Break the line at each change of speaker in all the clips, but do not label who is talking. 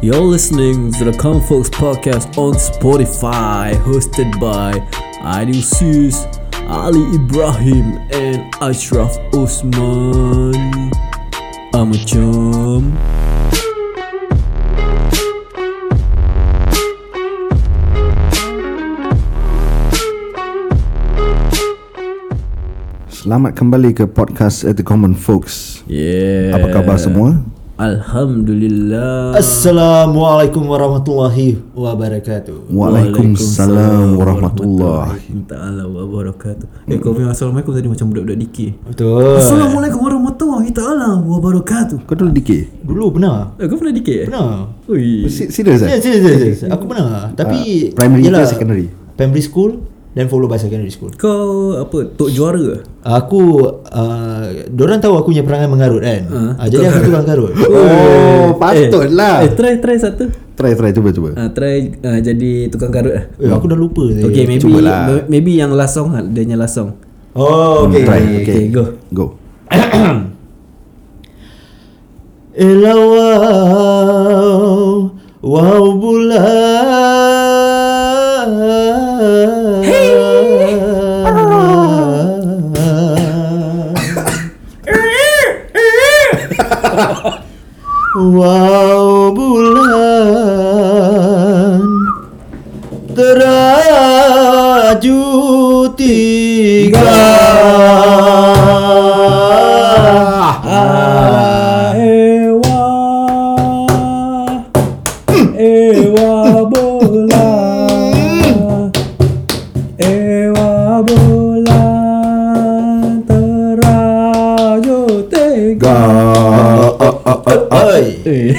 You're listening to the Common Folks podcast on Spotify, hosted by Adil Sis, Ali Ibrahim, and Ashraf Osman. I'm a chum.
Selamat kembali ke podcast At The Common Folks
Yeah.
Apa khabar semua?
Alhamdulillah.
Uh. Assalamualaikum warahmatullahi wabarakatuh.
Waalaikumsalam warahmatullahi
taala wabarakatuh. Eh kau punya assalamualaikum tadi macam budak-budak
Eh.
dikir.
Betul.
Assalamualaikum warahmatullahi taala wabarakatuh.
Kau dulu dikir?
Dulu pernah.
Eh, kau pernah dikir? eh?
Pernah.
Ui.
Si- Serius
Ya,
eh?
serius, serius, serius. Aku pernah.
Ah,
Tapi
primary ke secondary?
Primary school then follow by secondary school.
Kau apa tok juara ke?
Aku uh, Diorang tahu aku punya perangai mengarut kan
Ah,
Ah, Jadi aku tukang karut
Oh
Eh
patutlah
try try satu.
Try try cuba cuba
Ah try ah, jadi tukang karut lah.
eh, Aku dah lupa saya.
Okay maybe
cubalah.
ma- maybe yang last song lah, dia punya last song.
Oh okay,
Try
okay,
okay
go.
Go
Elawau Wau bulan Hey Wau bulan Teraju tiga Ah.
Ah.
Ewa Ewa bola Ewa bola Terajo tega
Go
Oi.
Eh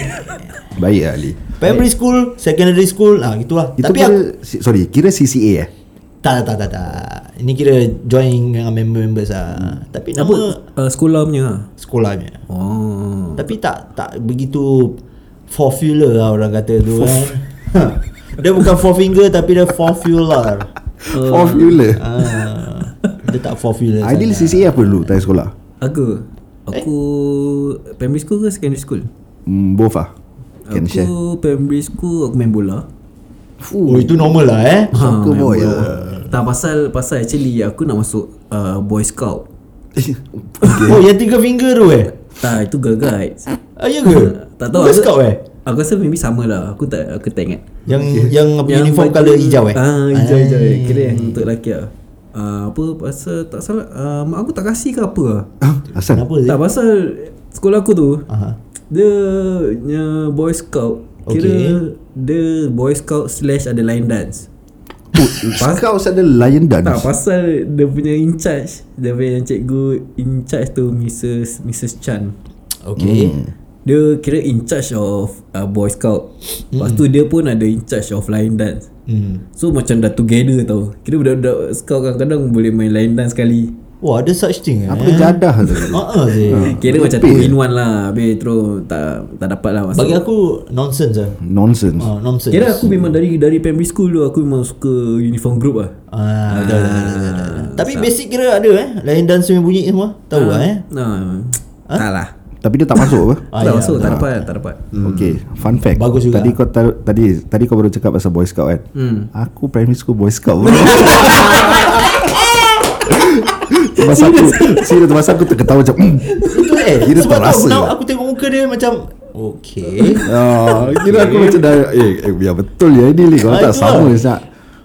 Baik Ali
Primary school, secondary school, ah gitulah.
Itu
Tapi
kira
aku,
si- Sorry kira CCA eh?
tak, tak tak tak tak. Ini kira join dengan member-members
Hmm.
ah. Tapi nama
uh, Sekolah punya ah?
sekolahnya.
Oh
Tapi tak tak begitu four fueler lah orang kata tu kan. dia bukan four finger tapi dia four fueler.
Formula
ah. Dia tak four fueler.
Adil
sangat.
CCA apa dulu Time sekolah?
Eh?
Aku Aku Primary school ke secondary school?
Hmm, Both lah Can
aku
share
primary school Aku main bola Ah,
Oh itu normal lah eh.
Soccer
main
boy
bola.
lah.
Tak pasal Pasal actually Aku nak masuk uh, Boy Scout
Oh yang tiga finger tu eh.
Tak itu Girl Guides
Ah ya ke?
Tak tahu
Bukan
aku-
scout eh.
Aku rasa maybe sama lah Aku tak Aku tak ingat
Yang yang, yang uniform
baju-
colour hijau eh.
Ah hijau hijau Kira yang untuk lelaki lah uh, Apa pasal Tak salah uh, Mak aku tak kasih ke apa lah
Hah? Asal?
Kenapa? eh?
Tak pasal Sekolah aku tu
Aha.
Dia punya Boy Scout Kira
Okay.
Dia Boy Scout Slash ada line dance
Oh, Kau usah ada lion
Tak
dance
pasal dia punya in charge Dia punya cikgu in charge tu Mrs Mrs Chan
Okay.
Hmm.
Dia kira in charge of uh, Boy Scout Lepas tu dia pun ada in charge of line dance
Hmm.
So macam dah together tau Kira budak-budak scout kadang-kadang boleh main line dance sekali
Wah, ada such thing eh.
Apa Hmm. dia jadah tu?
Ha ah,
Kira macam two in one lah Habis terus tak, tak dapat lah masuk
Bagi aku nonsense lah.
Nonsense
Ah, nonsense.
Kira aku memang dari dari primary school tu Aku memang suka uniform group lah
Ah, betul, betul, betul, betul, betul. Tapi basic kira ada eh. Lain dan punya bunyi semua. Tahu lah eh.
nah, Tak lah
Tapi dia tak masuk apa? Hmm.
Tak masuk tak dapat tak dapat
Okay, fun fact.
Bagus juga.
Tadi kau tar- tadi tadi kau baru cakap pasal boy scout kan? Hmm. Aku primary school boy scout. bro. Tu Masa aku Serius tu masa aku terketawa macam mm.
Betul eh.
Kira
Sebab
terasa.
tahu now aku tengok muka dia macam okay.
Ah, kira aku macam dah eh, eh ya betul ya ini Lee, kalau
Ah,
tak
itulah.
sama Zak.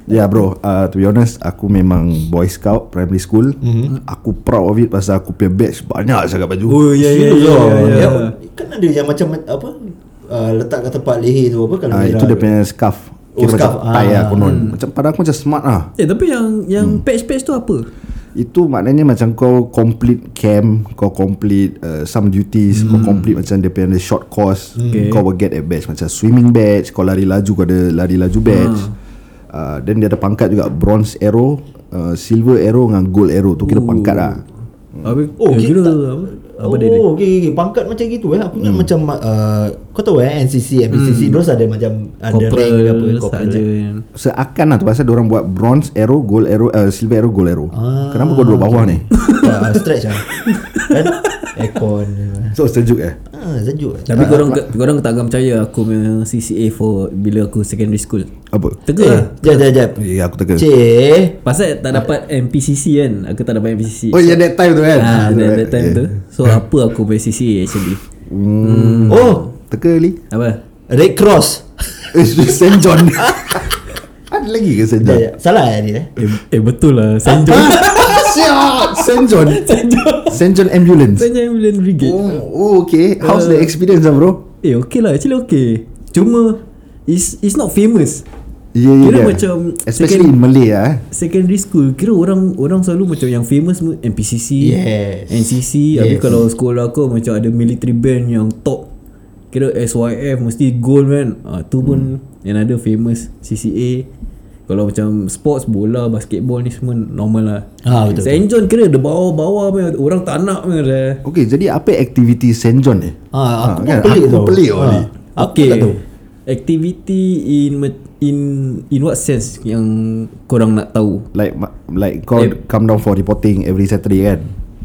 Ya yeah, bro, uh, to be honest aku memang boy scout primary school. Mm-hmm. Aku proud of it pasal aku punya batch banyak sangat baju.
Oh ya ya
Serius
ya
lah.
ya, ya.
Dia- Kan ada yang macam apa ah, letak kat tempat leher tu apa kalau
Ah,
merah
itu dia
tu.
punya scarf.
Oh,
Kira macam
scarf.
tie lah
Ah.
konon. Macam pada aku macam smart lah.
Eh tapi yang yang
Hmm.
patch-patch tu apa?
Itu maknanya macam kau complete camp, kau complete uh, some duties, kau
Hmm.
complete macam dia punya short course,
Okay.
kau will get a badge macam swimming badge, kau lari laju kau ada lari laju
Hmm.
badge. Uh, then dia ada pangkat juga bronze arrow, uh, silver arrow dengan gold arrow tu kira pangkat lah.
Habis
Oh,
eh,
kita
kira
tak-
apa, apa
oh,
dia ni?
Hmm.
okay, okay. Pangkat macam gitu eh. Aku ingat macam ah, Kau tahu eh NCC, MPCC hmm. Terus ada macam Ada rank
Corporal
ke apa Corporal
saja.
Seakan lah tu pasal orang buat bronze arrow, gold arrow, uh, silver arrow, gold arrow. Ah, Kenapa kau duduk bawah ni?
uh, Stretch lah Kan Aircon
So sejuk eh.
Ah, sejuk
Tapi korang korang tak akan percaya aku punya CCA for bila aku secondary school.
Apa?
Eh.
Tegur lah.
Jap jap jap
Ya aku teka.
Cik
Pasal tak dapat MPCC kan. Aku tak dapat MPCC.
Oh ya yeah, that time tu kan.
Ah, that, that time
Yeah.
tu. So apa aku punya CCA actually?
Hmm.
Oh
Teka li.
Apa?
Red Cross
Eh, Saint John. Ada lagi ke Saint
Ya,
Jap,
John?
jap. Salah eh dia eh?
Eh, eh betul lah. Sanjung.
Siap. Saint John.
Sanjung.
Saint John ambulance.
Sanjung Ambulance Brigade.
Oh, oh okay. How's
Uh,
the experience lah bro?
Eh okay lah Actually okay Cuma It's it's not famous
Ya yeah,
Kira
yeah,
macam
Especially in Malay lah eh.
Secondary school Kira orang Orang selalu macam Yang famous pun NPCC
Yes.
NCC yes. Habis
Yes.
kalau sekolah kau Macam ada military band Yang top Kira SYF Mesti gold kan ah, Tu pun
Hmm.
Yang ada famous CCA Kalau macam Sports Bola Basketball ni semua Normal lah
Ah, betul,
Saint John kira Dia bawa-bawa punya, Orang tak nak punya dah.
Okay, jadi apa aktiviti Saint John ni?
Ah,
Ah,
aku pun
kan?
pelik
Aku
tau.
pelik tau,
Ah,
Oli.
Aku
Okay.
tak tahu.
Activity in mat- in in what sense yang korang nak tahu?
Like ma- like kau
Eh.
come down for reporting every Saturday kan?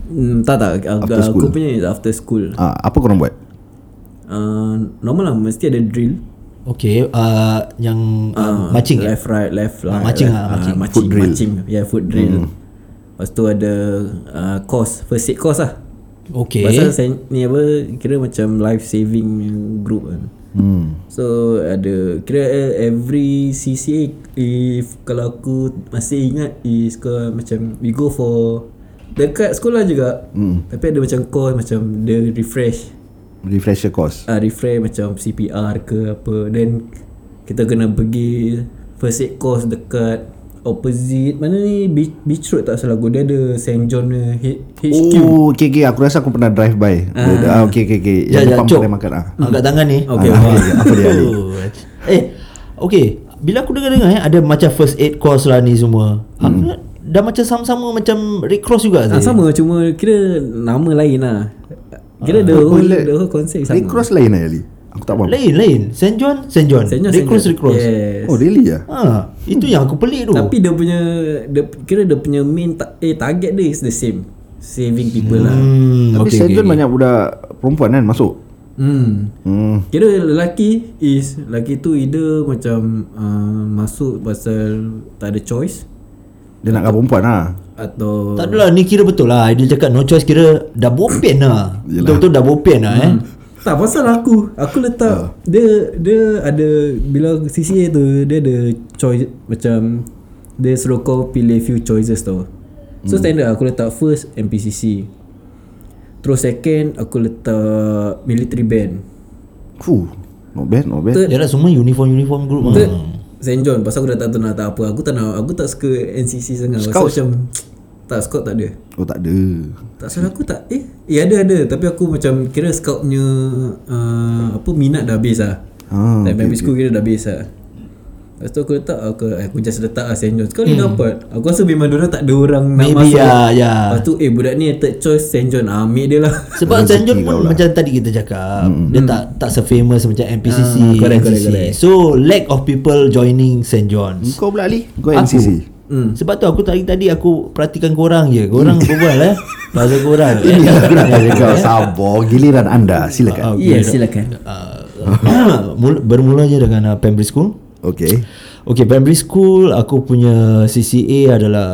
Hmm, tak tak aku,
After
aku
school.
punya is after school.
Ah, apa kau buat?
Uh, normal lah mesti ada drill. Ah,
Okay uh, Yang uh, Macing eh?
left right left lah.
marching
right,
ah, marching.
ah, marching,
Foot drill.
marching. Yeah, foot drill. Lepas tu ada uh, course, first aid course lah.
Okay
Pasal saya, ni apa kira macam life saving punya group kan.
Hmm.
So ada kira eh, every CCA if kalau aku masih ingat is kau macam we go for dekat sekolah juga. Hmm. Tapi ada macam call macam dia refresh
Refresher course.
ah uh, refresh macam CPR ke apa then kita kena pergi first aid course dekat opposite mana ni beach, beach road tak salah aku dia ada Saint John punya H- HQ.
Oh, okay, okay. Aku rasa aku pernah drive by. Ah, okay, okay, okay.
Jap, jap,
Yang depan
Cok.
kedai makan ah.
Angkat tangan ni
Okay,
Ah, okay, apa dia, Ali?
Oh. Eh Okay Bila aku dengar-dengar eh Ada macam first aid course lah ni semua
Hmm.
Aku ingat Dah macam sama-sama Macam Red Cross juga
Ah,
Zee.
sama cuma kira nama lain lah. Kira the whole the whole concept sama.
Ah, Red Cross lain eh, Ali? Aku tak faham.
Lain lain Saint John Saint John
Saint John,
Red
Saint
Cross
John.
Red Cross
Yes.
Oh, really ah?
ha, Itu yang aku pelik tu
Tapi dia punya dia, Kira dia punya main ta- Eh target dia is the same Saving people lah
hmm,
Tapi Saint John banyak budak perempuan kan masuk.
hmm.
Hmm.
Kira lelaki is Lelaki tu either macam uh, Masuk pasal Tak ada choice
Dia nak dengan perempuan ah.
Atau
Tak adalah ni kira betul lah Dia cakap no choice kira Dah bopian lah Betul-betul dah bopian lah eh
Tak pasal aku Aku letak Dia Dia ada Bila CCA tu Dia ada choice Macam Dia suruh kau pilih few choices tau So standard aku letak first MPCC Terus second Aku letak Military band
Fuh. Not bad, not bad.
Third-
Yalah semua uniform-uniform group lah
Third Saint John Pasal aku dah tak tahu nak tak apa Aku tak nak Aku tak suka NCC sangat Pasal
Scouts.
macam Tak scout tak ada
Oh, tak ada.
Tak salah aku tak Eh Ya ada ada Tapi aku macam Kira scout punya uh, Apa minat dah habis lah
Ah,
Time primary school kira dah habis lah Lepas tu aku letak Aku, aku just letak lah Saint John Sekarang ni dapat Aku rasa memang diorang tak ada orang nak
Hmm. Maybe
masuk
lah ya
Lepas tu eh budak ni third choice Saint John ah, Ambil dia lah
Sebab Saint John pun macam tadi kita cakap Dia tak tak se-famous macam MPCC
Hmm, Ah, correct,
NCC.
correct, correct.
So lack of people joining Saint John's
Kau pula Ali? Kau NCC.
Hmm. Sebab tu aku tadi tadi aku perhatikan korang je. Korang
Hmm.
berbual eh. Pasal korang.
Ini
eh.
aku nak tanya kau Sabar giliran anda Silakan
Ya yeah, silakan
Uh, mula- bermulanya dengan uh, primary school.
Okay
Okay, primary school aku punya CCA adalah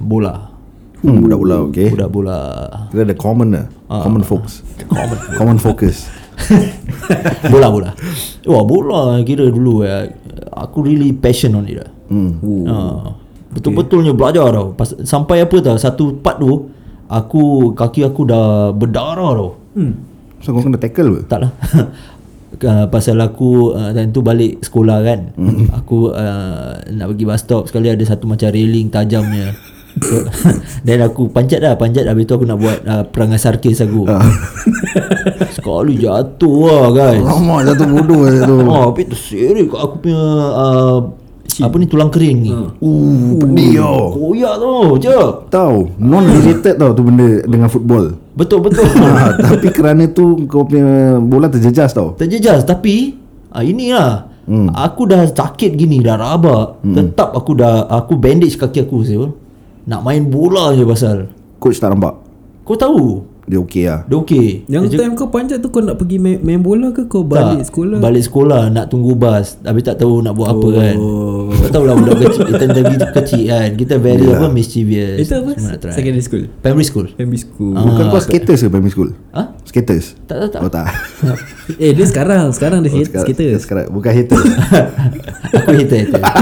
bola.
hmm, Budak-budak okay
Budak bola.
Kita ada common lah
Ah,
Common folks Common common focus
bola bola. Wah, bola kira dulu eh. Aku really passion on it lah.
hmm.
Ooh.
Ha. Betul-betulnya belajar tau. Pas, sampai apa tau, satu part tu aku kaki aku dah berdarah tau.
So kau kena tackle ke?
Tak lah. Uh, pasal aku uh, time tu balik sekolah kan mm. aku uh, nak pergi bus stop sekali ada satu macam railing tajamnya So, then aku panjat dah panjat habis tu aku nak buat uh, perangai sarkis aku sekali jatuh lah guys
Lama jatuh bodoh tu
oh tapi tu seri kat aku punya uh, apa ni tulang kering ni
Uh pedih tau
koyak tu je
Tahu Non related tau tu benda Dengan football
Betul betul.
ha, Tapi kerana tu Kau punya bola terjejas tau
Terjejas tapi ah, inilah. Hmm. Aku dah sakit gini dah rabak. Hmm. Tetap aku dah aku bandage kaki aku sebab nak main bola je pasal.
Coach tak nampak
Kau tahu
Dia okey lah
Dia okey
Yang time kau panjat tu kau nak pergi main, main bola ke kau balik sekolah?
Balik sekolah Nak tunggu bas Habis tak tahu nak buat oh. apa kan Tak tahulah budak kecil Kita lagi kecil kan Kita very apa Mischievous
Itu apa?
Semua nak try. Ah.
Secondary school.
Primary school
Primary school.
Bukan kau skaters ke primary school?
Ha?
Skaters?
Tak tak tak
Oh tak
eh dia sekarang sekarang
Oh,
dia hate
Sekarang-
skater.
sekarang, Bukan haters
Aku hater hater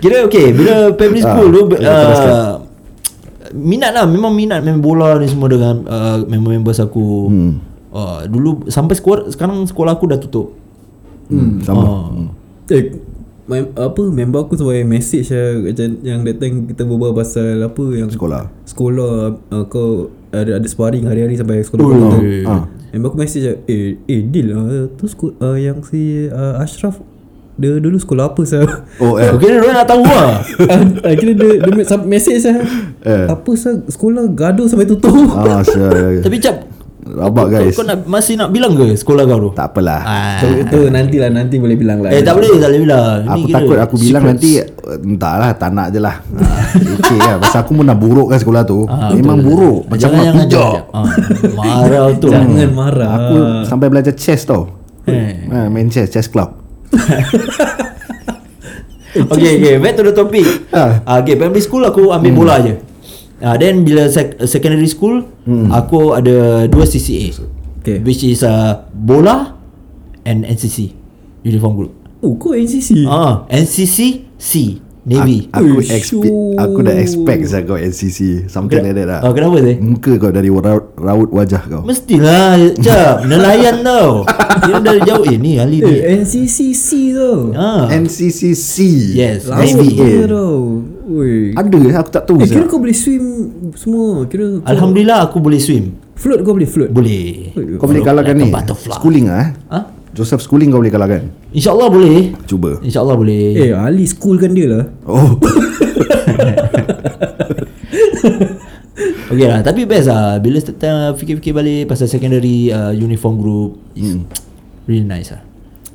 Kira okay Bila primary school tu
ya, teruskan.
uh, Minat lah Memang minat main bola ni semua Dengan uh, member-members aku hmm. uh, Dulu Sampai sekolah, sekarang sekolah aku dah tutup
hmm, Sama
Oh.
Eh my, apa member aku sampai message lah macam yang datang kita berbual pasal apa yang
Sekolah
sekolah uh, kau ada ada sparring hari-hari sampai sekolah kau datang.
ha.
Member aku message lah, eh eh deal lah tu sekolah uh, yang si uh, Ashraf dia dulu sekolah apa sah?
Oh eh
Okay dia orang nak tahu lah
Akhirnya dia, dia me- sam- message lah
Eh.
Apa sah sekolah gaduh sampai tutup
Ah, sial.
Tapi cap
Rabak guys
Kau, kau nak, masih nak bilang ke sekolah kau tu?
Tak apalah
Ah.
Tu, tu nantilah nanti boleh bilang lah
Eh tak boleh tak boleh bilang Ni
Aku
kira
takut aku bilang
secret.
nanti eh, Entahlah tak nak je lah ha, Leceh lah Pasal aku pun dah buruk kan sekolah tu
Ah,
ha, Memang buruk Macam
Jangan
nak
jangan
pijak
jangan. Ah, Marah tu
Jangan marah
Hmm. Aku sampai belajar chess tau
Eh.
ha, Main chess Chess club
Eh,
Okay okay Back to the topic
Ha.
Ah.
Ah, Okay primary school aku
Hmm.
ambil bola je Ah, Then bila sec- secondary school Aku ada dua CCA
Hmm. Okay.
Which is uh, Bola And NCC Uniform group
Oh kau NCC
Ah, NCC C Navy
A-
Ui,
Aku expect
syok.
Aku dah expect Saya kau NCC Something like that lah
Ah, Kenapa
Hmm.
sih?
Muka kau dari raut, raut wajah kau
Mestilah Cap Nelayan tau Dia dari jauh Eh ni Ali ni
Eh NCCC tau
ah.
NCCC
Yes
Lawa
Navy
dia tau Ui.
Ada eh? aku tak
Eh
tahu
kira kau
Zak.
boleh swim semua Kira kau
Alhamdulillah aku boleh swim
Float kau boleh float
Boleh
Kau boleh kalahkan
Like
ni
a butterfly.
Schooling ah. eh?
ha?
Joseph Schooling kau boleh kalahkan
InsyaAllah boleh
Cuba
InsyaAllah boleh
Eh Ali school kan dia lah
Oh
Okay lah Tapi best lah Bila st- time fikir-fikir balik Pasal secondary uh, Uniform group
Hmm.
is Really nice lah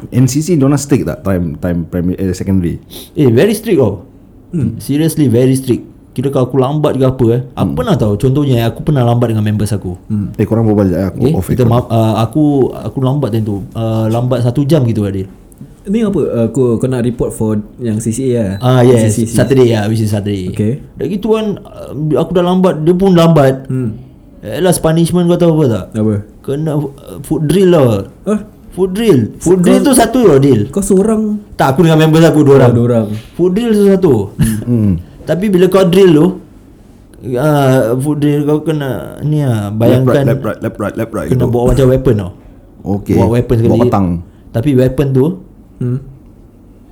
NCC diorang strict tak time time primary eh, secondary
Eh very strict tau hmm. Seriously very strict Kira kalau aku lambat ke apa eh Aku pernah tau Contohnya eh, aku pernah lambat dengan members aku
hmm. Eh korang berbual sekejap aku
Okay,
off
kita
record.
ma- uh, aku aku lambat time tu. Uh, lambat satu jam gitu Adil.
Ni apa uh, kau, kau nak report for yang CCA lah
Ah yes,
NCCC.
Saturday ya, which is Saturday.
Okay.
Dah gitu kan uh, aku dah lambat, dia pun lambat. Hmm. Eh, last punishment kau tahu apa tak?
Apa
Kena uh, food drill lah.
Ah,
Food drill. Food drill tu satu tau Adil.
Kau seorang
Tak aku dengan members aku dua
Oh,
orang.
Ada orang
Food drill tu satu.
hmm.
Tapi bila kau drill tu Uh, food drill kau kena ni ah
Left right
bayangkan
left right left right left right gitu.
kena bawa macam weapon tau.
Okay
Bawa weapon sekali
Bawa petang
Tapi weapon tu
hmm.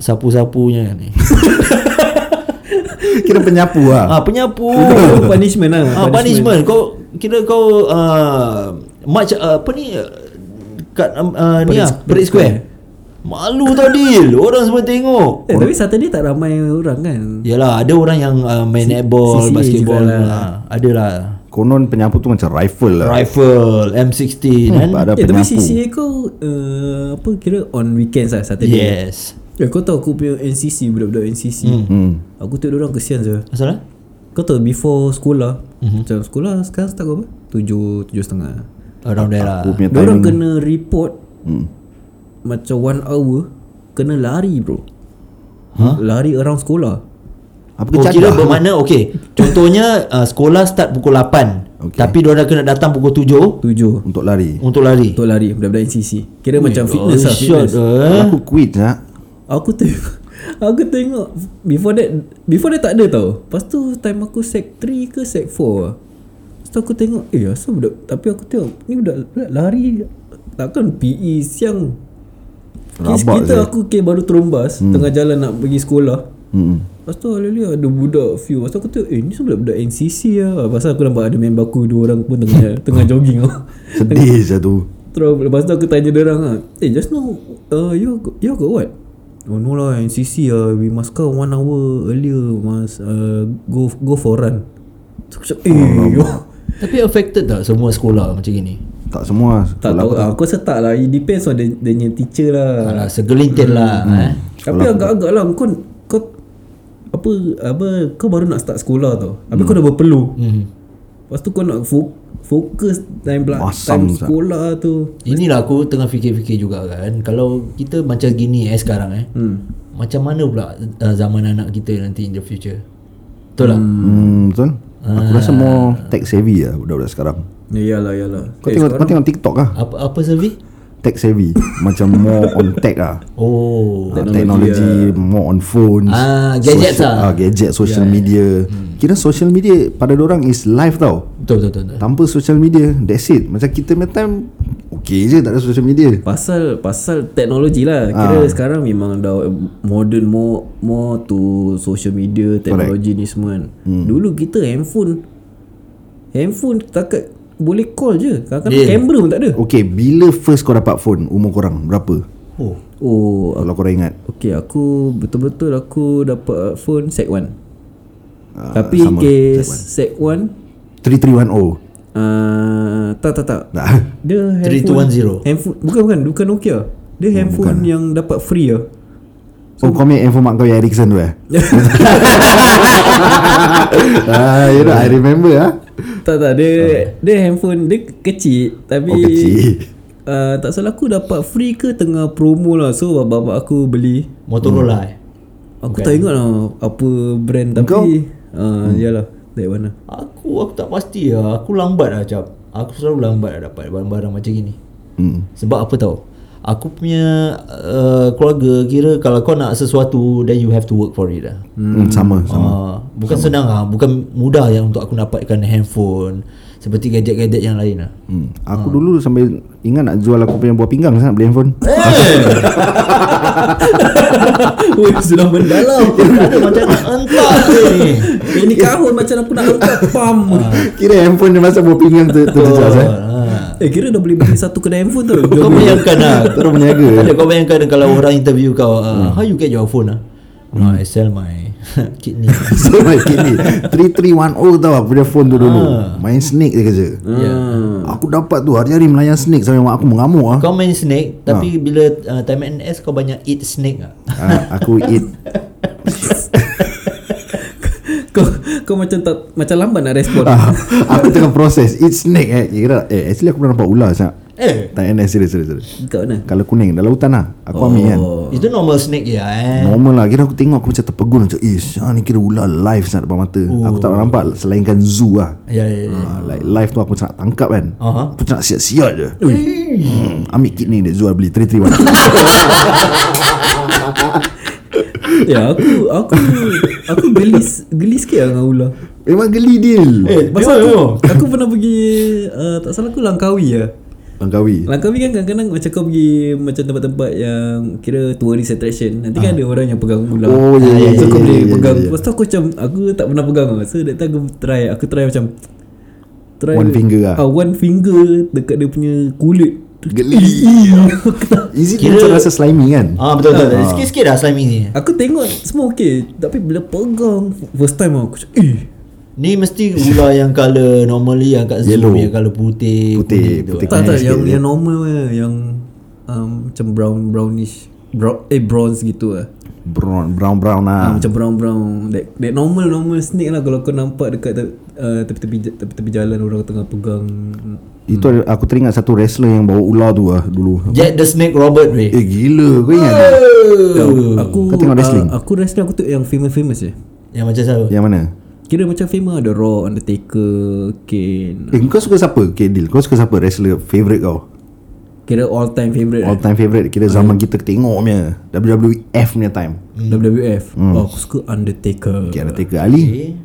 Sapu-sapunya ni
Kira penyapu lah
Ah penyapu
Oh, punishment lah
Ah punishment Kau Kira kau uh, March uh, Apa ni uh, Kat um, uh,
Parade
ni lah
square.
Parade Square Malu tau Dil Orang semua tengok
Eh, tapi Saturday tak ramai orang kan
Yalah ada orang yang uh, Main netball
CCA
Basketball
jugalah.
lah. Ada lah
Konon penyapu tu macam rifle lah
Rifle M16 kan
Tak ada
Eh tapi
penyapu
CCA kau uh, Apa kira on weekends lah Saturday
Yes
Eh kau tahu aku punya NCC Budak-budak NCC
hmm.
Aku tengok orang kesian je
Masalah
Kau tahu before sekolah mm-hmm. Macam sekolah sekarang start pukul apa? Tujuh, tujuh setengah
Around there lah
Aku punya
Diorang
timing
kena report
hmm.
Macam one hour Kena lari bro huh? Lari around sekolah
Apa
Oh,
kejadah
kira bermakna okey. Contohnya uh, sekolah start pukul 8.
Okey.
Tapi dia orang kena datang pukul 7
Tujuh
Untuk lari
untuk lari.
Untuk lari Budak-budak NCC Kira macam fitness lah
Shot,
fitness.
Kalau
eh.
Aku quit lah
Aku tengok Aku tengok Before that Before that tak ada tau Lepas tu time aku sec 3 ke sec 4 lah. Lepas tu aku tengok Eh asal budak Tapi aku tengok Ni budak, budak lari Takkan PE siang Kes
Rabak
kita
je.
aku okay, baru terombas hmm. Tengah jalan nak pergi sekolah
hmm.
Lepas tu alih ada budak few Lepas tu aku tengok Eh ni semua budak NCC lah Pasal aku nampak ada member aku Dua orang pun tengah, tengah jogging lah
Sedih satu
Terus lepas tu aku tanya dia orang ah, "Eh just now uh, you go- you got what?" Oh no lah NCC ah uh, we must come one hour earlier must uh, go go for run. So, aku cakap, eh yo.
Tapi affected tak semua sekolah macam gini?
Tak semua
Tak
Sekolah
tahu Aku rasa tak lah It depends on the, the new teacher lah
Alah, segelintir lah eh.
Tapi agak-agak lah Kau Kau Apa apa Kau baru nak start sekolah tau Habis kau dah berpeluh
Hmm.
Lepas tu kau nak fo- fokus Time, bela-
Masam
time
sah.
sekolah tu
Inilah aku tengah fikir-fikir juga kan Kalau kita macam gini eh sekarang eh hmm. Macam mana pula uh, zaman anak kita nanti in the future Betul tak? Hmm.
Hmm, betul? Aku rasa
Ah.
more tech savvy lah budak-budak sekarang.
Ya Yalah yalah
Kau
Eh,
tengok kau tengok TikTok lah.
Apa, apa survey?
Tech savvy. Macam more on tech lah.
Oh
Ah, Technology, more on phones.
lah. Ah, gadgets
social,
lah. Hmm.
Ah, gadget, social media. Kira social media pada orang is live tau.
Betul betul betul, betul.
Tanpa social media, that's it. Macam kita punya time okay je tak ada social media.
Pasal pasal teknologi lah. Kira sekarang memang dah modern more more to social media, teknologi ni semua kan. Hmm. Dulu kita handphone handphone takat boleh call je. Kadang-kadang yeah. kamera pun tak ada.
Okay, bila first kau dapat phone umur korang berapa?
Oh
Oh,
Kalau korang ingat.
okay aku betul-betul aku dapat phone sec 1.
Ah,
Uh, Tapi
lah.
kes sec 1
3310.
Uh, tak tak tak.
Tak.
Dia handphone
3210.
handphone bukan bukan bukan Nokia. Dia handphone yang dapat free ah.
Oh kau ambil handphone mak kau yang Ericsson tu eh? ah, you know, I remember ah.
Tak tak dia dia handphone dia kecil tapi
Oh, kecil.
Uh, tak salah aku dapat free ke tengah promo lah So bapak aku beli
Motorola hmm. eh
Aku tak ingat lah apa brand tapi uh,
Hmm.
Yalah dari mana
Aku aku tak pasti lah Aku lambat lah cap Aku selalu lambat lah dapat barang-barang macam gini
Hmm.
Sebab apa tau Aku punya uh, keluarga kira kalau kau nak sesuatu Then you have to work for it lah
Hmm, sama sama.
Ah, bukan senang ah, bukan mudah yang untuk aku dapatkan handphone seperti gadget-gadget yang lain lah.
Hmm. Aku dulu sampai ingat nak jual aku punya buah pinggang saya nak beli handphone.
Ui sudah mendalam
Ada macam nak hentak je ni.
Ini kahun macam aku nak angkat pam
Ah. Kira handphone dia masuk buah pinggang tu tu terjejas eh.
Ah.
Eh kira dah boleh beli satu kedai handphone tu
Kau bayangkan lah
Terus berniaga.
Ada kau bayangkan kalau orang interview kau uh, How you get your phone lah hmm. I sell my kidney
So my kini 3310 tau aku punya phone tu dulu. Main snake dia kerja.
Ah.
yeah.
Aku dapat tu hari-hari melayan snake sampai mak aku mengamuk ah.
Kau main snake Tapi bila uh, time NS kau banyak eat snake lah
ah aku eat
kau, kau macam tak Macam lambat nak respon
Ah, aku tengah proses Eat snake eh Kira eh actually aku pernah nampak ular sangat
Eh
Tak NS serius serius serius
Kat mana
Kalau kuning dalam hutan lah Aku oh. ambil kan
Itu normal snake je lah, eh
Normal lah Kira aku tengok aku macam terpegun Macam ish ah, ni kira ular live sangat depan mata Aku tak nampak Selainkan zoo lah
Ya ya ya
Ah, Like live tu aku macam nak tangkap kan
Aha.
Aku macam nak siat-siat je hmm, Ambil kidney dia Zual beli 331
Ya aku Aku Aku geli Geli sikit lah dengan ular
Memang geli deal
Eh
Pasal
dia-
aku, aku pernah pergi uh, Tak salah aku Langkawi lah
Langkawi
Langkawi kan kadang-kadang Macam kau pergi Macam tempat-tempat yang Kira tourist attraction Nanti kan ada orang yang pegang ular
Ah. Oh, ya, ya,
So
ya,
kau
ya,
boleh
ya,
pegang
ya, ya.
Lepas tu aku macam Aku tak pernah pegang tau. So that time aku try Aku try macam Try
One finger lah.
ah, One finger Dekat dia punya kulit
Geli Is it
Kira-
macam rasa slimy kan
Ah betul betul. betul. Sikit-sikit lah slime ni.
Aku tengok semua okay Tapi bila pegang First time aku macam Eh
Ni mesti ular yang colour normally yang kat zoo
Yellow.
yang colour putih.
Putih,
kuning tu.
putih.
Tak tak
sikit
yang
je.
yang normal lah yang um, macam brown brownish brown eh bronze gitu lah.
Brown brown brown
Ah.
lah
macam brown brown that, that normal normal snake lah kalau kau nampak dekat te- uh, tepi-tepi ja- tepi-tepi jalan orang tengah pegang
Itu ada- aku teringat satu wrestler yang bawa ular tu lah dulu
Jack the Snake Robert weh.
Eh gila kau ingat tak?
uh, aku
Oh. Kau tengok wrestling?
Uh, aku wrestling aku tu yang famous famous je.
Yang macam siapa?
Yang mana?
Kira macam famous ada Raw, Undertaker, Kane.
Eh kau suka siapa? Okay deal Kau suka siapa wrestler favourite kau?
Kira all time favorite lah,
All time favourite Kira zaman kita tengok punya WWF punya time Hmm.
WWF. Oh, aku suka Undertaker.
Okay Undertaker Ali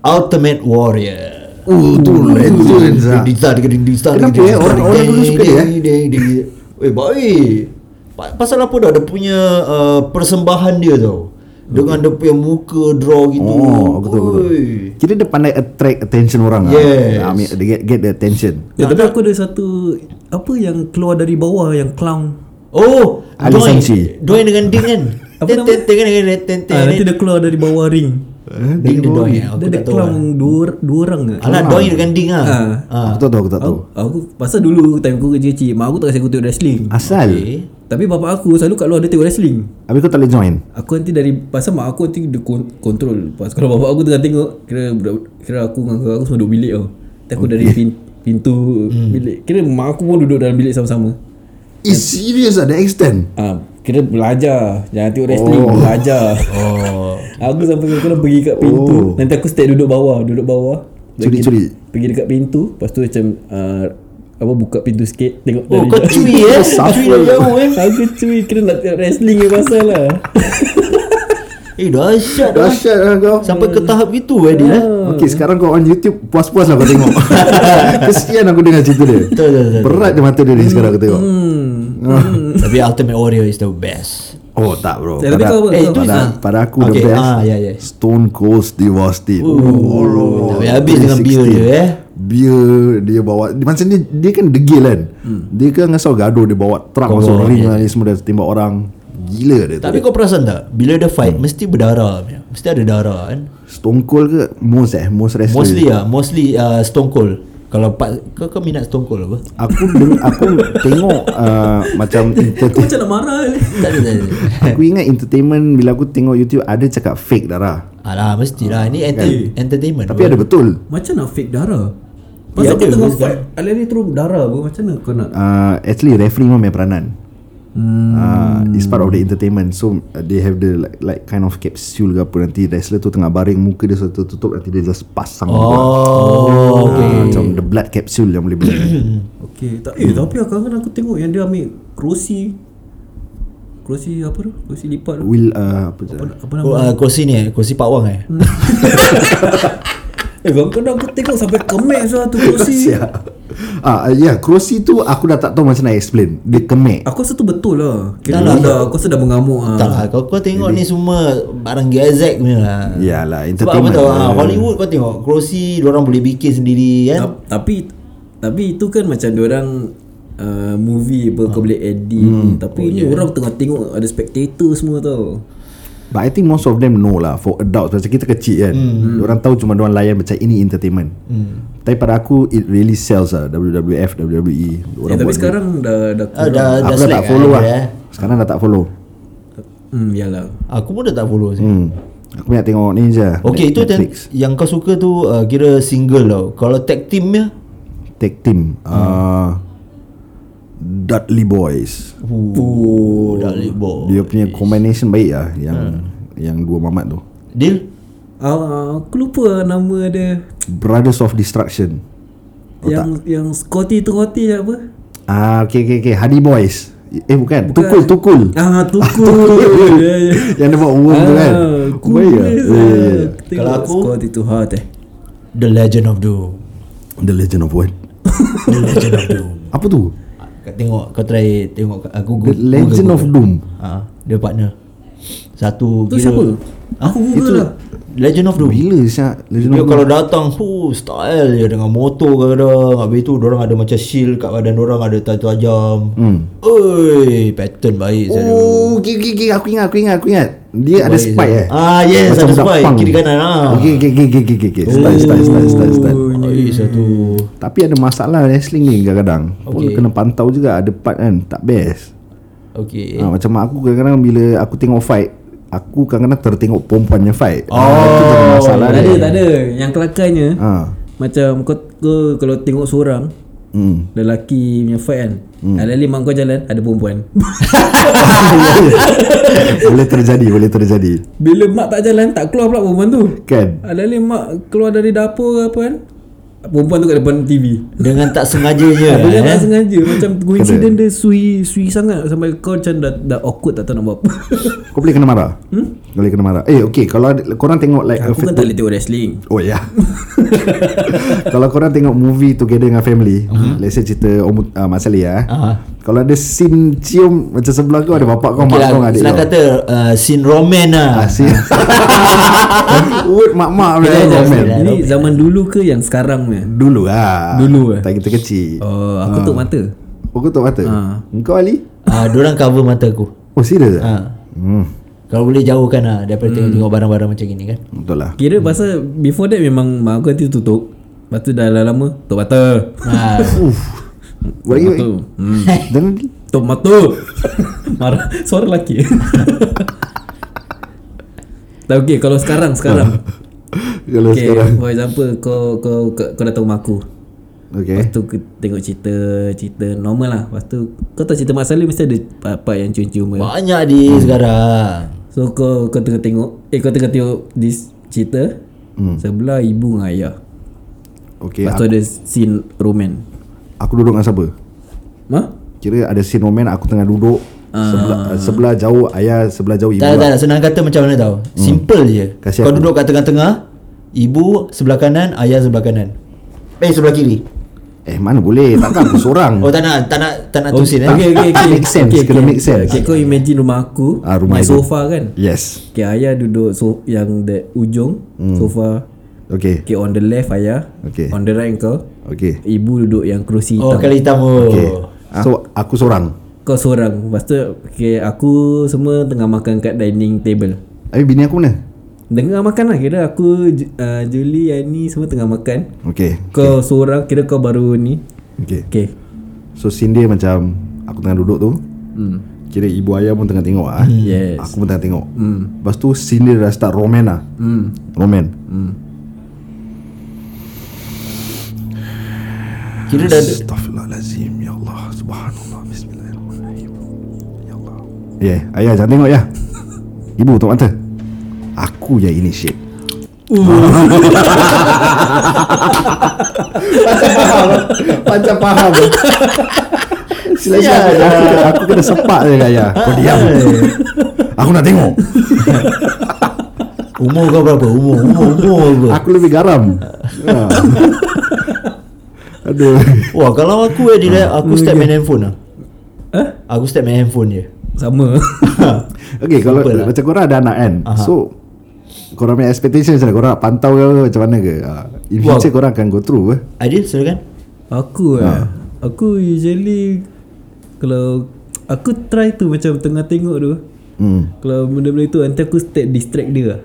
Ultimate Warrior.
Oh tu legend lah
Dita dika ding dista
Kenapa, eh? Orang- orang dulu suka dia, eh?
Eh baik. Pa- Pasal apa dah dia punya uh, persembahan dia tau. Dengan dia punya muka draw gitu.
Oh betul betul
Oi.
Kira dia pandai attract attention orang lah
Yes.
Ah, ambil- Dia get, get the attention
Ya, tapi aku ada satu apa yang keluar dari bawah yang clown.
Oh,
Ali
Dwayne.
Sanchi.
Dwayne dengan Ding kan.
Apa nama?
Ten- ten- ten- ten- ten- ten-
Ah, nanti
ten-
dia keluar dari bawah ring.
Ding the
Bowie.
Doy eh, Aku
Dia ada
tak tahu lah.
clown dua, dua orang ke?
Alah Doy dengan Ding lah Ah.
Aku tak tahu Aku tak tahu
Aku, aku pasal dulu time aku kerja kecil, mak aku tak kasi aku tengok wrestling.
Asal
Okay.
Tapi bapa aku selalu kat luar dia tengok wrestling.
Habis kau tak boleh join
Aku nanti dari pasal mak aku nanti dia kon- kontrol. Pas kalau bapa aku tengah tengok kira budak- kira aku dengan kakak aku semua duduk bilik tau. Tapi aku dari pin, pintu bilik. Kira mak aku pun duduk dalam bilik sama-sama.
Is Eh, serious lah, at the extent
Ah, kira belajar. Jangan tengok wrestling, oh. belajar. Oh. aku sampai kena pergi kat pintu. Oh.
Oh.
Nanti aku stay duduk bawah, duduk bawah.
Curi curi
Pergi dekat pintu, lepas tu macam uh, apa buka pintu sikit tengok
Oh kau
jauh.
cui eh Kau Cui dari jauh eh
Aku cuy kira nak tengok wrestling ni pasal lah.
Eh dahsyat lah
Dahsyat lah kau
Sampai ke tahap itu eh Adil eh
Okay sekarang kau on YouTube Puas-puas lah kau tengok Kesian aku dengar cerita dia
Betul, betul, betul.
Ah.
Berat dia mata dia ni sekarang aku tengok
Hmm. Tapi Ultimate Warrior is the best
Oh tak bro
Tapi
Pada-
kau apa?
Eh,
kau
itu
apa?
pada,
Ah.
pada aku
Okay,
the best
ah, ya, ya.
Stone Cold Steve Austin oh, oh,
Tapi habis dengan beer dia eh
Beer dia bawa dia, Macam ni dia kan degil kan
Hmm.
Dia kan ngasal gaduh Dia bawa truck
Kau
masuk
bawa,
ring lah
ya.
Dia semua dah tembak orang Gila dia
Tapi
tu
kau perasan tak Bila dia fight
Hmm.
Mesti berdarah punya. Mesti ada darah kan
Stone Cold ke Most eh Most wrestler
Mostly ah, Mostly ah, Stone Cold Kalau part, kau, kau minat Stone Cold apa?
Aku deng- aku tengok uh, Macam
Aku
entertain
macam nak marah eh. ni.
Tak ada, tak ada.
Aku ingat entertainment Bila aku tengok YouTube Ada cakap fake darah
Alah mestilah Ini enter, entertainment
Tapi ada betul
Macam nak fake darah. Pasal
ada
kau tengah
pun
fight, alih ni terus darah apa macam mana kau nak?
uh, Actually referee pun main peranan hmm. uh, It's part of the entertainment So uh, they have the like, like kind of capsule ke apa Nanti wrestler tu tengah baring Muka dia satu tutup Nanti dia just pasang
Oh
okay. uh, Macam the blood capsule yang boleh beli
Okey, tak eh tapi kadang-kadang aku tengok yang dia ambil kerusi. Kerusi apa tu? Kerusi lipat tu.
Will uh, apa tu
Apa
Ko-
nama?
ah, Kursi ni eh Kursi Pak Wang eh
Hmm.
Eh kadang-kadang aku tengok sampai kemek lah tu kerusi.
Ya Ah, uh, yeah, kerusi tu aku dah tak tahu macam nak explain Dia
Ah.
kemek
Aku rasa tu betul lah. Kira
Tak lah.
aku dah aku rasa dah mengamuk ah.
Tak lah kau, kau tengok ni semua Barang gezek punya lah
Yalah,
Sebab apa
Ya, entertainment
tahu
lah.
ah, Hollywood kau tengok Kerusi orang boleh bikin sendiri kan
Ta- Tapi tapi itu kan macam diorang uh, movie apa
Ah.
kau boleh edit hmm. tapi oh, ni yeah. orang tengah tengok ada spectator semua tau.
But I think most of them know lah For adults Macam kita kecil kan mm. Orang tahu cuma Diorang layan macam Ini entertainment mm. Tapi pada aku It really sells lah WWF WWE
Eh,
E, Orang
tapi
buat duit.
sekarang dah dah kurang.
Ah, dah, dah
Aku dah
slack
tak follow
ada,
lah
eh.
Sekarang dah tak follow
Hmm yalah.
Aku pun dah tak follow sih.
hmm. Aku nak tengok ni je
Okay itu ten,
Netflix.
yang kau suka tu uh, Kira single tau Kalau tag teamnya
Tag team uh, Dudley Boys
Oh dah libur
Dia punya combination baik lah Yang yang dua mamat tu
Deal
Ah, aku lupa nama dia.
Brothers of Destruction
yang yang Scotty tu Scotty apa?
Ah, okay, okay, okay. Hardy Boys Eh bukan, Tukul, Tukul
Ah tukul. Ya, ya.
Yang dia buat worm tu
Ah,
kan
Cool
Baik
lah.
lah. Ya, ya, ya.
Tengok
Kalau aku-
Scotty tu hot eh.
The Legend of Doom
The Legend of What
The Legend of Doom
Apa tu?
Kau tengok Kau try Tengok kat- ah,
The
Google
Legend
Google,
of Doom
Google. Ah, Dia partner Satu Ah,
Tu siapa? Aku Google lah.
Legend of Doom
Bila siap Legend
Dia
of Doom
kalau datang hu style dia dengan motor kadang-kadang habis tu orang ada macam shield kat badan orang ada tajam. Hmm. Oi, pattern baik saya.
Oh, okay, okay, okay. Aku ingat, aku ingat, aku ingat Dia ada spike eh
Ah, yes, ada
Daft
spike.
Punk.
Kiri kanan, ah.
Okay, okay, okay, okay, okay, okay, okay. Style,
Oh.
style, style, style, style.
Oi, satu.
Tapi ada masalah wrestling ni kadang-kadang Pun
Okay.
kena pantau juga Ada part kan Tak best
Okey.
ha, Macam mak aku kadang-kadang Bila aku tengok fight Aku kadang-kadang tertengok perempuan yang fight Oh
Tak
Masalah
ada,
dia
tak ada. Yang kelakarnya
ha.
macam kau, kau kalau tengok seorang
Hmm.
lelaki punya fight kan. Alih-alih mak kau jalan ada perempuan.
boleh terjadi Boleh terjadi
Bila mak tak jalan tak keluar pula perempuan tu.
Kan
Alih-alih mak keluar dari dapur ke apa kan. Perempuan tu kat depan TV.
Dengan tak sengajanya
Dia
eh.
tak sengaja macam coincident dia sui sui sangat sampai kau macam dah, dah awkward tak tahu nak buat apa.
Kau boleh kena marah hmm? Kau boleh kena marah Eh okay Kalau ada, korang tengok like a
Aku kan tak boleh tengok wrestling.
Oh ya yeah. Kalau korang tengok movie Together dengan family
Hmm.
uh-huh. Let's say cerita Om, uh, Mat Salleh ya.
Ah.
Kalau ada scene cium Macam sebelah kau Ada bapak kau
Okey
Mak
lah,
kau dengan adik
senang
kau
kata uh, Sin Roman lah
Ah, scene Wood mak-mak man,
Kira je,
man.
kira.
Ini zaman dulu ke yang sekarang punya?
Dulu lah
Dulu, eh?
Tak kita kecil
Oh, aku tutup mata.
Kau tutup mata
Ha.
Engkau Ali
Ah, Diorang cover Ah, mata aku
Oh serius
Ah.
hmm.
Kalau boleh jauhkan lah Daripada tengok-tengok barang-barang macam gini kan
Betul lah
Kira pasal before that memang mak aku nanti tutup. Lepas tu dah lama tutup mata.
ha,
Why
Tutup
you
mata. Hmm.
Jangan
Tutup mata. Marah suara lelaki. tak okey kalau sekarang sekarang.
Kalau
Okay,
sekarang
for example kau kau kau, kau datang rumah aku.
Okay
Lepas tu ke- tengok cerita cerita normal lah. Lepas tu kau tahu cerita Mak Saleh mesti ada part-part yang
ya.
cium-cium. kan?
Banyak di
Hmm.
sekarang
So kau kau tengah tengok eh kau tengah tengok this cerita hmm. sebelah ibu dengan ayah.
Okay
Lepas tu ada scene roman.
Aku duduk dengan siapa
Ha?
Kira ada scene moment Aku tengah duduk Sebelah,
Ah.
sebelah jauh ayah Sebelah jauh ibu
Tak tak
lah. Hmm.
tak Senang kata macam mana tau Simple je
Kasih
Kau
aku.
duduk kat tengah-tengah Ibu sebelah kanan Ayah sebelah kanan Eh sebelah kiri
Eh mana boleh Takkan aku seorang
Oh tak nak Tak nak, tak nak tu scene eh
Oh, okay, okay, okay.
Make sense,
okay,
kena make sense.
Okay, kau imagine rumah aku,
Ah, rumah
punya
ibu.
sofa kan.
Yes
Okay, ayah duduk so yang the ujung sofa.
Okay
Okay, on the left ayah.
Hmm. Okay.
On the right kau.
Okay
Ibu duduk yang kerusi
Oh
hitam.
kali hitam oh.
Okay So aku seorang
Kau seorang. Lepas tu okay, aku semua tengah makan kat dining table.
Habis bini aku mana
Tengah makan lah kira aku Ju- uh, Julie, Yani semua tengah makan.
Okay
Kau seorang kira kau baru ni.
Okay
Okay.
So scene dia macam Aku tengah duduk tu
Hmm.
Kira ibu ayah pun tengah tengok ah.
Yes.
Aku pun tengah tengok mm. Lepas tu scene dia dah start roman lah
Hmm.
Roman
Kira dah
Astaghfirullahalazim Ya Allah Subhanallah Bismillahirrahmanirrahim Ya Allah Ya yeah. ayah jangan tengok ya Ibu tutup mata Aku yang initiate Macam faham Macam faham Sila
Sial.
siapa aku, kena- aku kena sepak je
Ya.
Ayah Kau diam Aku nak tengok
Umur kau berapa? Umur Umur Umur berapa?
Aku lebih garam ha. Aduh
Wah kalau aku eh dia aku step main handphone lah.
Hah?
Aku step main handphone je.
Sama.
Okay kalau
Simple lah.
Macam korang ada anak kan
Aha.
So Korang punya expectation macam mana Korang nak pantau ke apa, Macam mana ke ha. In
Wow.
future korang akan go through eh?
Adil silakan.
aku
Ya.
ha. eh. Aku usually kalau aku try tu macam tengah tengok tu.
hmm.
Kalau benda-benda tu nanti aku step distract dia. lah.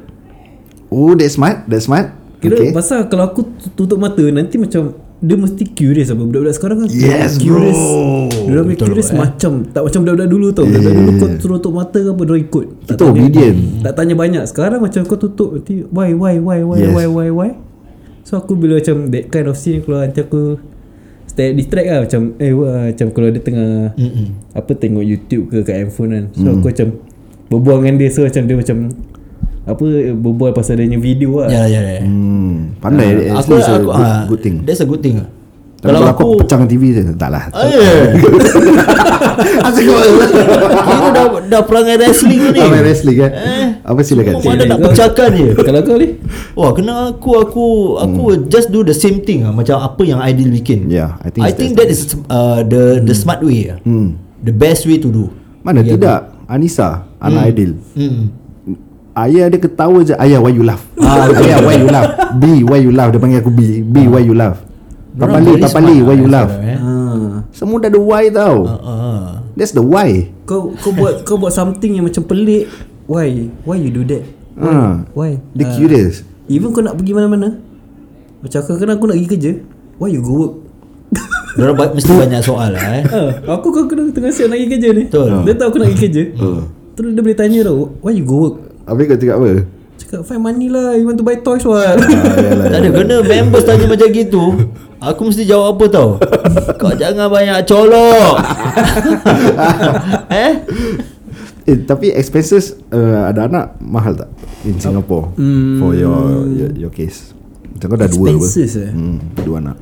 Oh that's smart That's smart
Kira okay.
Okay
pasal kalau aku tu- tutup mata nanti macam dia mesti curious apa budak-budak sekarang kan
Yes,
curious.
bro.
Dia orang curious macam tak macam budak-budak dulu tau. Budak-budak dulu kau suruh tutup mata ke apa dia ikut. Tak
Kita obedient.
Tak tanya banyak. Sekarang macam kau tutup nanti why why why why
Yes.
why why why. So aku bila macam that kind of scene keluar nanti aku stay distract lah macam eh wah, macam kalau dia tengah
Mm-mm. Mm.
apa tengok YouTube ke kat handphone kan so aku macam berbual dengan dia so macam dia macam apa berbual pasal dia punya video lah
Ya ya ya.
hmm. Pandai uh,
Aku
Actually it's a
aku
good,
ah,
good thing
That's a good thing. ah.
Tapi kalau aku pecah dengan TV je Tak lah
Eh,
Asal kau
kira dah dah perangai wrestling tu ni.
Apa wrestling kan Apa silakan
Mana
Okey,
nak
kau-
pecahkan dia?
kalau kau ni
Wah, kena aku aku aku just do the same thing ah macam apa yang Adil bikin.
Hmm. Yeah, I think
I
that's-
think that is uh, the
Hmm.
the smart way. ah. The best way to do.
Mana tidak Anissa Anak Aidil
Ya, Hmm.
Ayah dia ketawa je Ayah why you laugh
Ah, betul. Ah.
Ayah why you laugh B why you laugh Dia panggil aku B B why you laugh
Dorang
Papali
very
Papali
smart
why
ah,
you laugh
sekarang, eh.
ha.
Semua dah ada why tau
Ah.
That's the why
kau kau buat kau buat something yang macam pelik why why you do that
Hmm.
ha.
why
Dia
Ah.
curious
even kau nak pergi mana-mana macam aku kena aku nak pergi kerja why you go work
Dorang ba- mesti banyak soal lah eh.
ha, aku kau kena tengah siap nak pergi kerja ni
Betul.
dia tahu aku nak pergi kerja terus dia boleh tanya tau why you go work
Habis kau cakap apa?
cakap find money lah you want to buy toys what
Ah, yalah,
Tak ada
yalah.
kena members tanya macam gitu. Aku mesti jawab apa tau? Kau jangan banyak colok. eh?
Eh, tapi expenses uh, ada anak mahal tak in Singapore for your, your your case? Macam kau dah dua apa?
Hmm. Expenses eh?
Hmm, dua anak.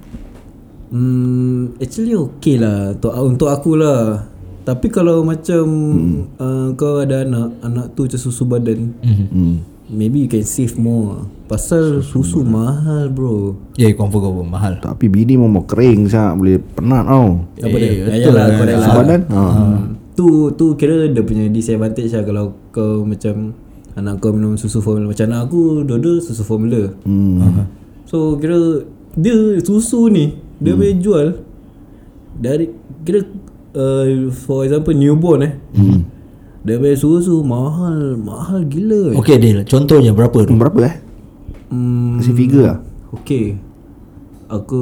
Hmm, actually okay lah untuk untuk aku lah. Tapi kalau macam hmm. uh, kau ada anak, anak tu macam susu badan.
Hmm.
Maybe you can save more. Pasal susu, mahal bro.
Ya, yeah, confirm confirm mahal.
Tapi bini mau mau kering sangat boleh penat tau.
Apa dia?
betul
Ayalah,
lah.
correct
Susu
lah.
badan? Ha.
Hmm. Tu tu kira dia punya disadvantage lah kalau kau macam anak kau minum susu formula macam anak aku dua-dua susu formula.
Hmm.
So kira dia susu ni dia boleh jual dari kira uh, for example newborn eh. Hmm. eh, Dia punya susu mahal Mahal gila
Okey Dil, contohnya berapa tu?
Hmm, Berapa eh
hmm,
Kasi figure lah
Okay Aku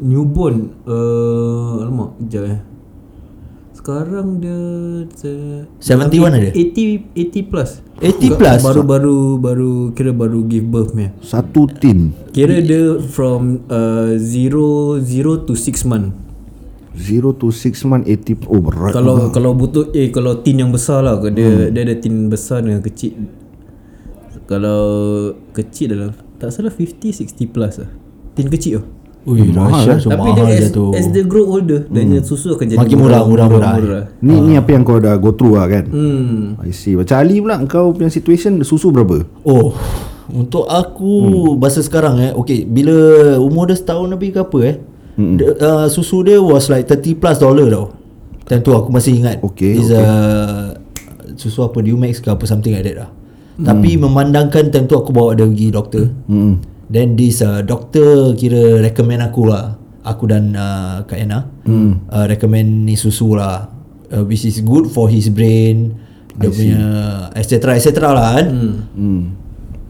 Newborn uh, Alamak Kejap eh Sekarang dia se-
71 ada?
80 80 plus
80 Eh. plus?
Baru-baru Baru Kira baru give birth punya
Satu tin
Kira dia from uh, zero zero to six month.
0 to 6 month 80 Oh berat
Kalau kalau butuh eh kalau tin yang besar lah dia hmm. dia ada tin besar dengan kecil. Kalau kecil dalam tak salah 50 60 plus lah. Tin kecil tu.
Ui,
eh?
mahal lah. So,
Tapi
mahal
dia
dia
as,
tu.
as they grow older, hmm. dia susu akan jadi
Makin murah, murah, murah.
Ni ni apa yang kau dah go through lah kan
Ah. Hmm.
I see Macam Ali pula Kau punya situation Susu berapa
Oh, untuk aku hmm. bahasa sekarang eh, okey, bila umur dia setahun lebih ke apa eh, hmm. the, uh, susu dia was like 30 plus dollar tau. Time tu aku masih ingat.
Okey,
Is a susu apa Dumex ke apa something like that lah. Hmm. Tapi memandangkan time tu aku bawa dia pergi doktor. Hmm. Then this uh, doctor kira recommend aku lah. Aku dan uh, Kak Ena hmm. uh, recommend ni susu lah. Uh, which is good for his brain. Dia punya et cetera et cetera lah kan. Hmm.
Hmm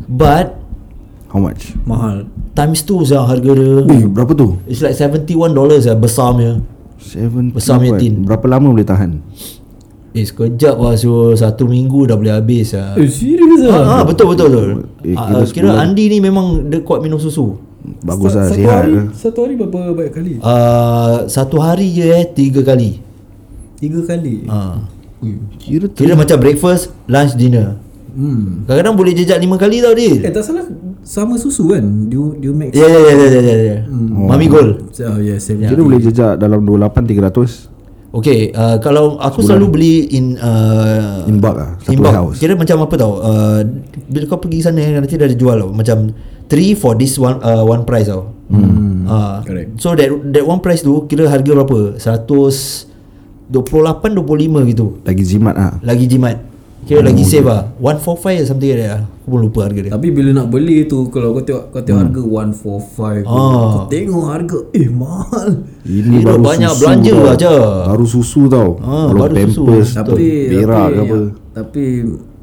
But
How much
Mahal.
Times tu sah harga dia
Ui berapa tu
It's like 71 dollars lah Besar punya
7
Besar punya tin.
Berapa lama boleh tahan
Eh sekejap lah so, Satu minggu dah boleh habis lah
Eh serius
Ah, ah, betul betul betul.
Eh,
Ah, ah, kira Andi ni memang dia kuat minum susu.
Bagus lah sihat lah.
satu hari berapa banyak kali?
Ah, satu hari je eh tiga kali.
Tiga kali.
Ah.
Kira tu
Kira macam breakfast, lunch, dinner.
Hmm.
Kadang-kadang boleh jejak lima kali tau
Eh
dia.
tak salah sama susu kan? Dia dia make
Ya ya ya ya ya ya. Mami Gold.
Oh yeah, same.
Kira boleh jejak dalam 28 300
Okay, uh, kalau aku selalu beli in uh,
In bulk lah, satu
in bulk.
house.
Kira macam apa tau? Uh, bila kau pergi sana nanti dah ada jual tau. Macam three for this one uh, one price tau. Hmm. Uh,
Correct.
so that that one price tu kira harga berapa? 128 25 gitu.
Lagi jimat lah
Lagi jimat. Kira lagi save ah. 145 or something like that. lah. Aku pun lupa harga dia.
Tapi bila nak beli tu kalau kau tengok kau tengok hmm. harga 145
Ah.
kau tengok harga eh mahal.
Ini
Kira
baru
banyak
susu
belanja
tau.
aja.
Baru susu tau
Ah,
Kalau
baru susu.
pampers
Tapi
Berak
tapi,
ke apa
tapi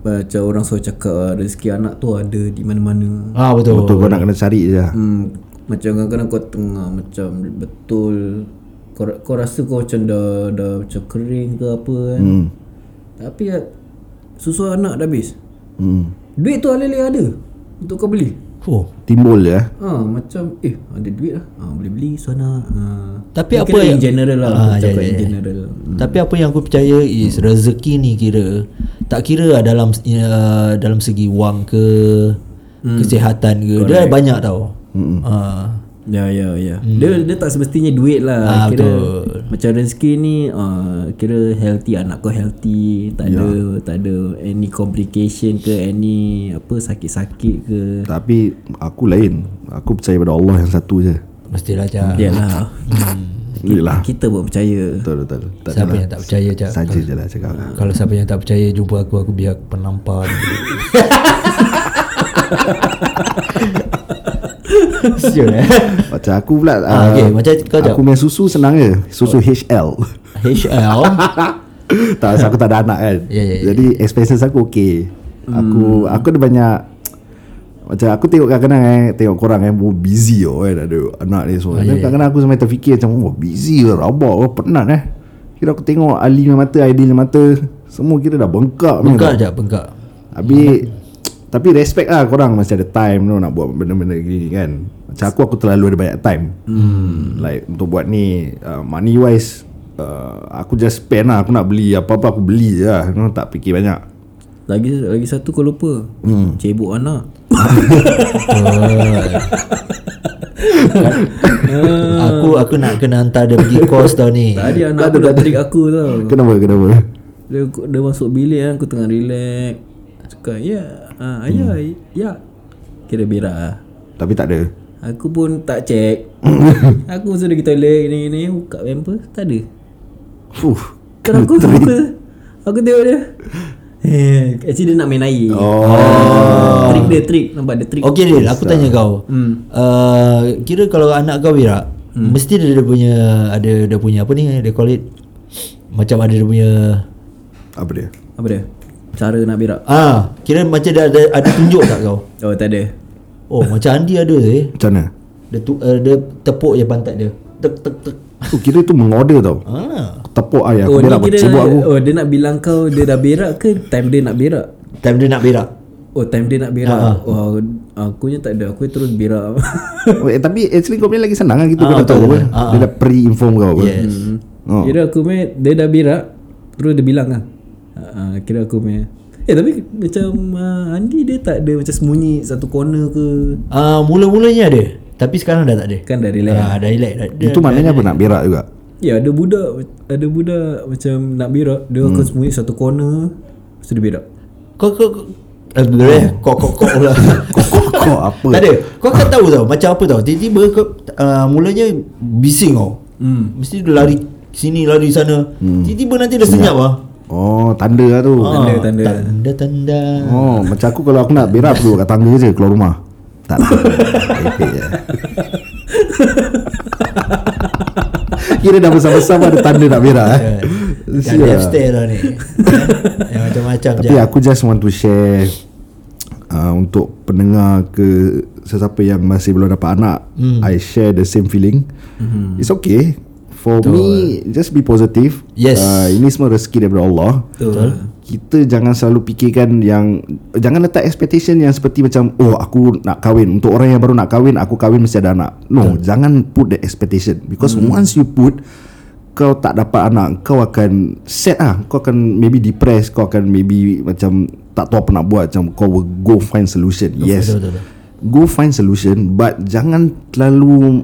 macam orang selalu cakap ah, rezeki anak tu ada di mana-mana.
Ah betul.
Betul kau nak kena cari je lah
Hmm, macam kadang-kadang kau tengah macam betul kau, ra- kau rasa kau macam dah, dah macam kering ke apa kan. Hmm. Tapi ah, susu anak dah habis.
hmm.
Duit tu alih-alih ada untuk kau beli.
Oh.
Timbul je lah
Ha, macam eh ada duit lah. Ha, boleh beli sana. Ha. Ni
Tapi apa
kira in
yang-
general lah
Ah,
ha,
ya,
cakap
ya,
in
ya.
general.
Tapi apa yang aku percaya is rezeki ni kira tak kira lah dalam uh, dalam segi wang ke kesihatan ke dia banyak tau. Hmm. Uh,
Ya ya ya. Dia dia tak semestinya duit lah.
Ah,
kira
betul.
macam rezeki ni ah, kira healthy anak kau healthy, tak ada tak ada any complication ke any apa sakit-sakit ke.
Tapi aku lain Aku percaya pada Allah yang satu je
Ah.
mestilah Jah.
Yalah. Hmm.
Yalah
lah. Kita pun percaya.
Betul betul Tak
Siapa yang tak percaya Jah?
saja je lah cakap
Kalau siapa yang tak percaya jumpa aku aku biar penampar. Sial eh.
Macam aku pula
Ah,
ah,
okay, macam kau jap.
Aku main susu senang je Susu HL
HL.
tak sebab aku tak ada anak kan.
Ya, ya, Hmm. ya.
Jadi expenses aku okey. Aku aku ada banyak macam aku tengok kadang-kadang eh tengok korang eh oh, busy oh kan ada anak
Ya,
ni semua. Dan kadang-kadang aku sampai terfikir macam oh busy ke rabak ke penat eh. Kira aku tengok Ali punya mata, Aidil punya mata semua kira dah bengkak punya
Bengkak
tau.
Jah, bengkak.
Habis tapi respect lah korang masih ada time tu nak buat benda-benda gini kan. Macam aku aku terlalu ada banyak time. Hmm. Like untuk buat ni uh, money wise uh, aku just spend lah aku nak beli apa-apa aku beli je lah. No, tak fikir banyak.
Lagi lagi satu kau lupa. Hmm. Cebok anak.
aku aku nak kena hantar dia pergi kos tau ni.
Tadi anak aku dah trick aku tau.
Kenapa kenapa?
Dia, dia masuk bilik kan Aku tengah relax Cakap ya ah, Ayah ya Kira berak lah
Tapi tak ada.
Aku pun tak cek Aku suruh pergi toilet Gini gini Buka pamper Tak ada
Fuh.
Kan aku aku, aku tengok dia Eh, actually dia nak main air oh. Trick dia trick Nampak dia trick
Okey Dil, aku tanya kau. Hmm. Uh, kira kalau anak kau berak, hmm. mesti dia ada punya ada dia punya apa ni? They call it macam ada dia punya
Apa dia?
Apa dia? Cara nak berak.
Ah, kira macam dia ada ada tunjuk tak kau?
Oh, tak ada.
Oh, macam Andi ada eh.
Macam mana?
Dia tu uh, dia tepuk je pantat dia. Tek tek tek.
Oh, kira tu mengorder tau.
Ah.
Tepuk ayah
Oh,
aku berak
ni
kira...
kira
sibuk aku.
oh, dia nak bilang kau dia dah berak ke time dia nak berak?
Time dia nak berak.
Oh, time dia nak berak.
Ha,
Wah, aku nya tak ada. Aku terus berak.
Oh, eh, tapi actually kau punya lagi senang kan kita kau dah tahu kan. Dia dah pre-inform kau apa.
Yes.
Oh. Kira aku punya dia dah berak, terus dia bilang lah. Uh, kira aku punya. Eh tapi macam uh, Andi dia tak ada macam sembunyi satu corner ke.
Ah, mula-mulanya ada. Tapi sekarang dah tak ada.
Kan dah relax.
Ah, dah relax dah. Dia,
Itu maknanya apa nak berak juga.
Ya ada budak ada budak macam nak berak, dia hmm. akan sembunyi satu corner, lepas tu dia berak.
kau kau kau- eh, boleh kok kok kok lah.
Kau apa?
Tak ada. Kau kan tahu tau macam apa tau. Tiba-tiba kau ah, mulanya bising kau. Hmm. Mesti dia lari sini lari sana. Tiba-tiba nanti dah Hmm. senyap ah.
Oh, tanda lah tu.
Tanda tanda.
Tanda tanda.
Oh, macam aku kalau aku nak berak tu kat tangga je keluar rumah. Tak lah. Epek je. Kira dah besar-besar pun ada tanda nak berak eh.
Ya. Yang
Sial.
dia upstairs lah ni. Yang macam-macam je.
Tapi aku just want to share uh, untuk pendengar ke sesiapa yang masih belum dapat anak, mm.
Hmm.
I share the same feeling. Mm-hmm. It's okay. For Betul. me, just be positive.
Yes.
Uh, ini semua rezeki daripada Allah.
Betul.
Kita jangan selalu fikirkan yang jangan letak expectation yang seperti macam oh aku nak kahwin untuk orang yang baru nak kahwin aku kahwin mesti ada anak. No, jangan put the expectation because
Hmm.
mm. once you put kau tak dapat anak kau akan sad ah kau akan maybe depressed kau akan maybe macam tak tahu apa nak buat macam kau will go find solution yes
betul, betul.
go find solution but jangan terlalu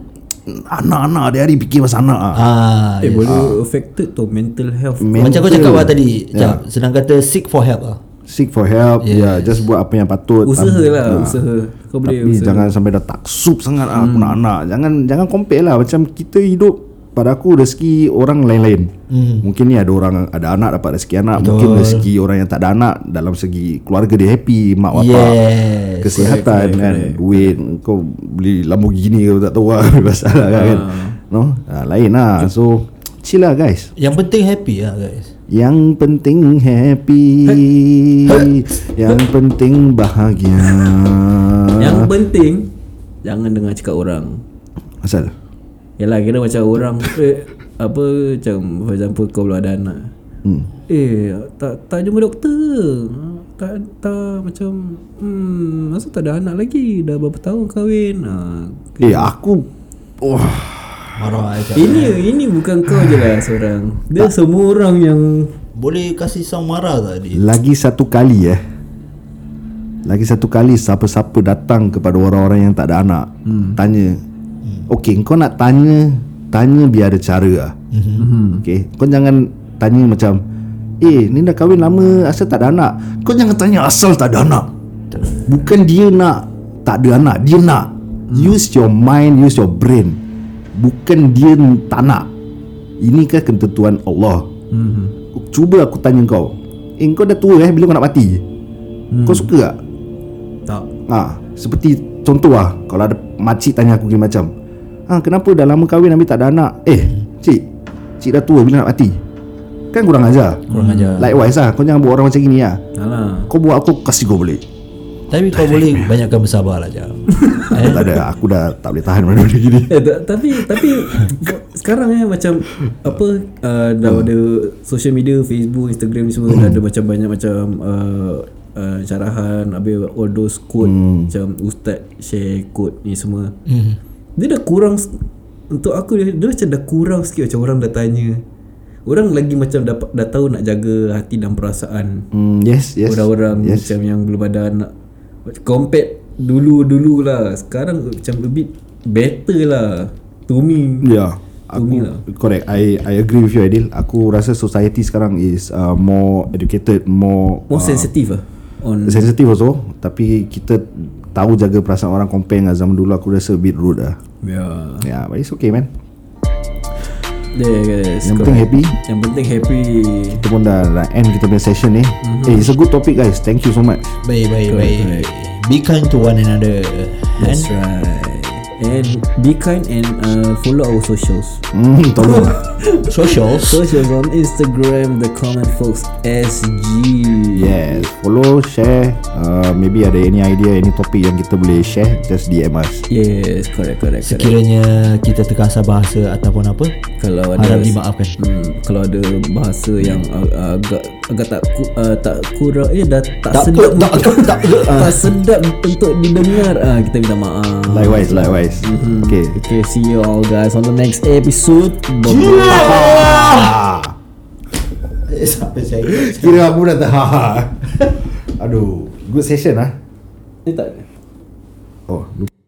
anak-anak hari-hari fikir pasal anak ah
Ah,
Eh boleh affected tu mental health.
Men-
Macam kau
Mental.
cakap lah tadi yeah. Senang kata seek for help lah
seek for help yes. yeah just buat apa yang patut
usaha
Am-
lah,
ah.
usaha. Kau boleh
Tapi
usaha.
jangan sampai dah taksub sangat ah, aku nak anak. Jangan jangan compare lah macam kita hidup pada aku rezeki orang lain-lain. Mungkin ni ada orang ada anak dapat rezeki anak, Betul. mungkin rezeki orang yang tak ada anak dalam segi keluarga dia happy, mak bapak,
Yes.
kesihatan kan, duit kau beli Lamborghini kau tak tahu lah pasal lah kan. No? Ah, lain lah. So chill lah guys.
Yang penting happy lah guys
Yang penting happy Yang penting bahagia
Yang penting jangan dengar cakap orang.
Asal?
Yalah kira macam orang eh, apa macam for example kau belum ada anak. Hmm. Eh tak tak jumpa doktor. ke? Tak tak macam hmm masa tak ada anak lagi dah berapa tahun kahwin. Ha.
Eh aku Wah
Marah lah cakap
Ini ini bukan kau je lah seorang. Dia tak. semua orang yang
Boleh kasih sound marah tak dia
Lagi satu kali eh Lagi satu kali Siapa-siapa datang Kepada orang-orang yang tak ada anak hmm. Tanya hmm. Okay kau nak tanya Tanya biar ada cara lah hmm. Okay Kau jangan Tanya macam Eh ni dah kahwin lama Asal tak ada anak Kau jangan tanya asal tak ada anak Bukan dia nak Tak ada anak Dia nak Use your mind Use your brain Bukan dia tak nak Inikah ketentuan Allah Cuba aku tanya kau Eh kau dah tua eh Bila kau nak mati Kau suka tak?
tak
ha, Seperti contoh lah Kalau ada makcik tanya aku gini macam ha, Kenapa dah lama kahwin Habis tak ada anak Eh cik Cik dah tua bila nak mati Kan kurang ajar
Kurang ajar
Likewise lah Kau jangan buat orang macam gini lah
Alah.
Kau buat aku Kasih kau balik
Tapi kau boleh banyakkan bersabar lah Jam
eh? Tak ada Aku dah tak boleh tahan Benda gini
Eh, ta- tapi tapi sekarang eh macam apa uh, dah ada social media Facebook Instagram ni semua dah ada macam banyak macam uh, uh, syarahan habis all those quote macam ustaz share quote ni semua. Dia dah kurang s- untuk aku dia, dia macam dah kurang sikit macam orang dah tanya. Orang lagi macam dah, dah tahu nak jaga hati dan perasaan
Hmm, yes, yes.
orang-orang yes. macam yang belum ada anak compared dulu-dulu lah sekarang macam a bit better lah to me
Yeah. Ya, Aku correct. I I agree with you Adil. Aku rasa society sekarang is uh, more educated, more uh,
more sensitive lah on
sensitive Hmm. also tapi kita tahu jaga perasaan orang compare dengan zaman dulu aku rasa a bit rude lah
yeah
ya yeah, but it's okay man
there guys
yang penting happy
yang penting happy
kita pun dah, dah end kita punya session ni mm-hmm. eh it's a good topic guys thank you so much
Baik baik baik Be kind to one another
that's
And
right and be kind and uh, follow our socials.
Hmm, tolong lah
Socials
Socials on Instagram, the Common Folks SG.
Yes Follow, share uh, Maybe ada any idea Any topik yang kita boleh share Just DM us
Yes, correct, correct, correct.
Sekiranya kita terkasar bahasa ataupun apa
Kalau ada
Harap dimaafkan
Hmm, kalau ada bahasa yang ag- agak agak tak ku- uh, tak kurang eh dah tak,
Tak
sedap
tak-
untuk,
tak- tak-
tak sedap untuk didengar ah kita minta maaf.
Likewise, likewise Okay
Okay, see you all guys on the next episode. Bye.
Ah. Kira aku dah tak Aduh Good session lah
Ni tak ada.
Oh lupa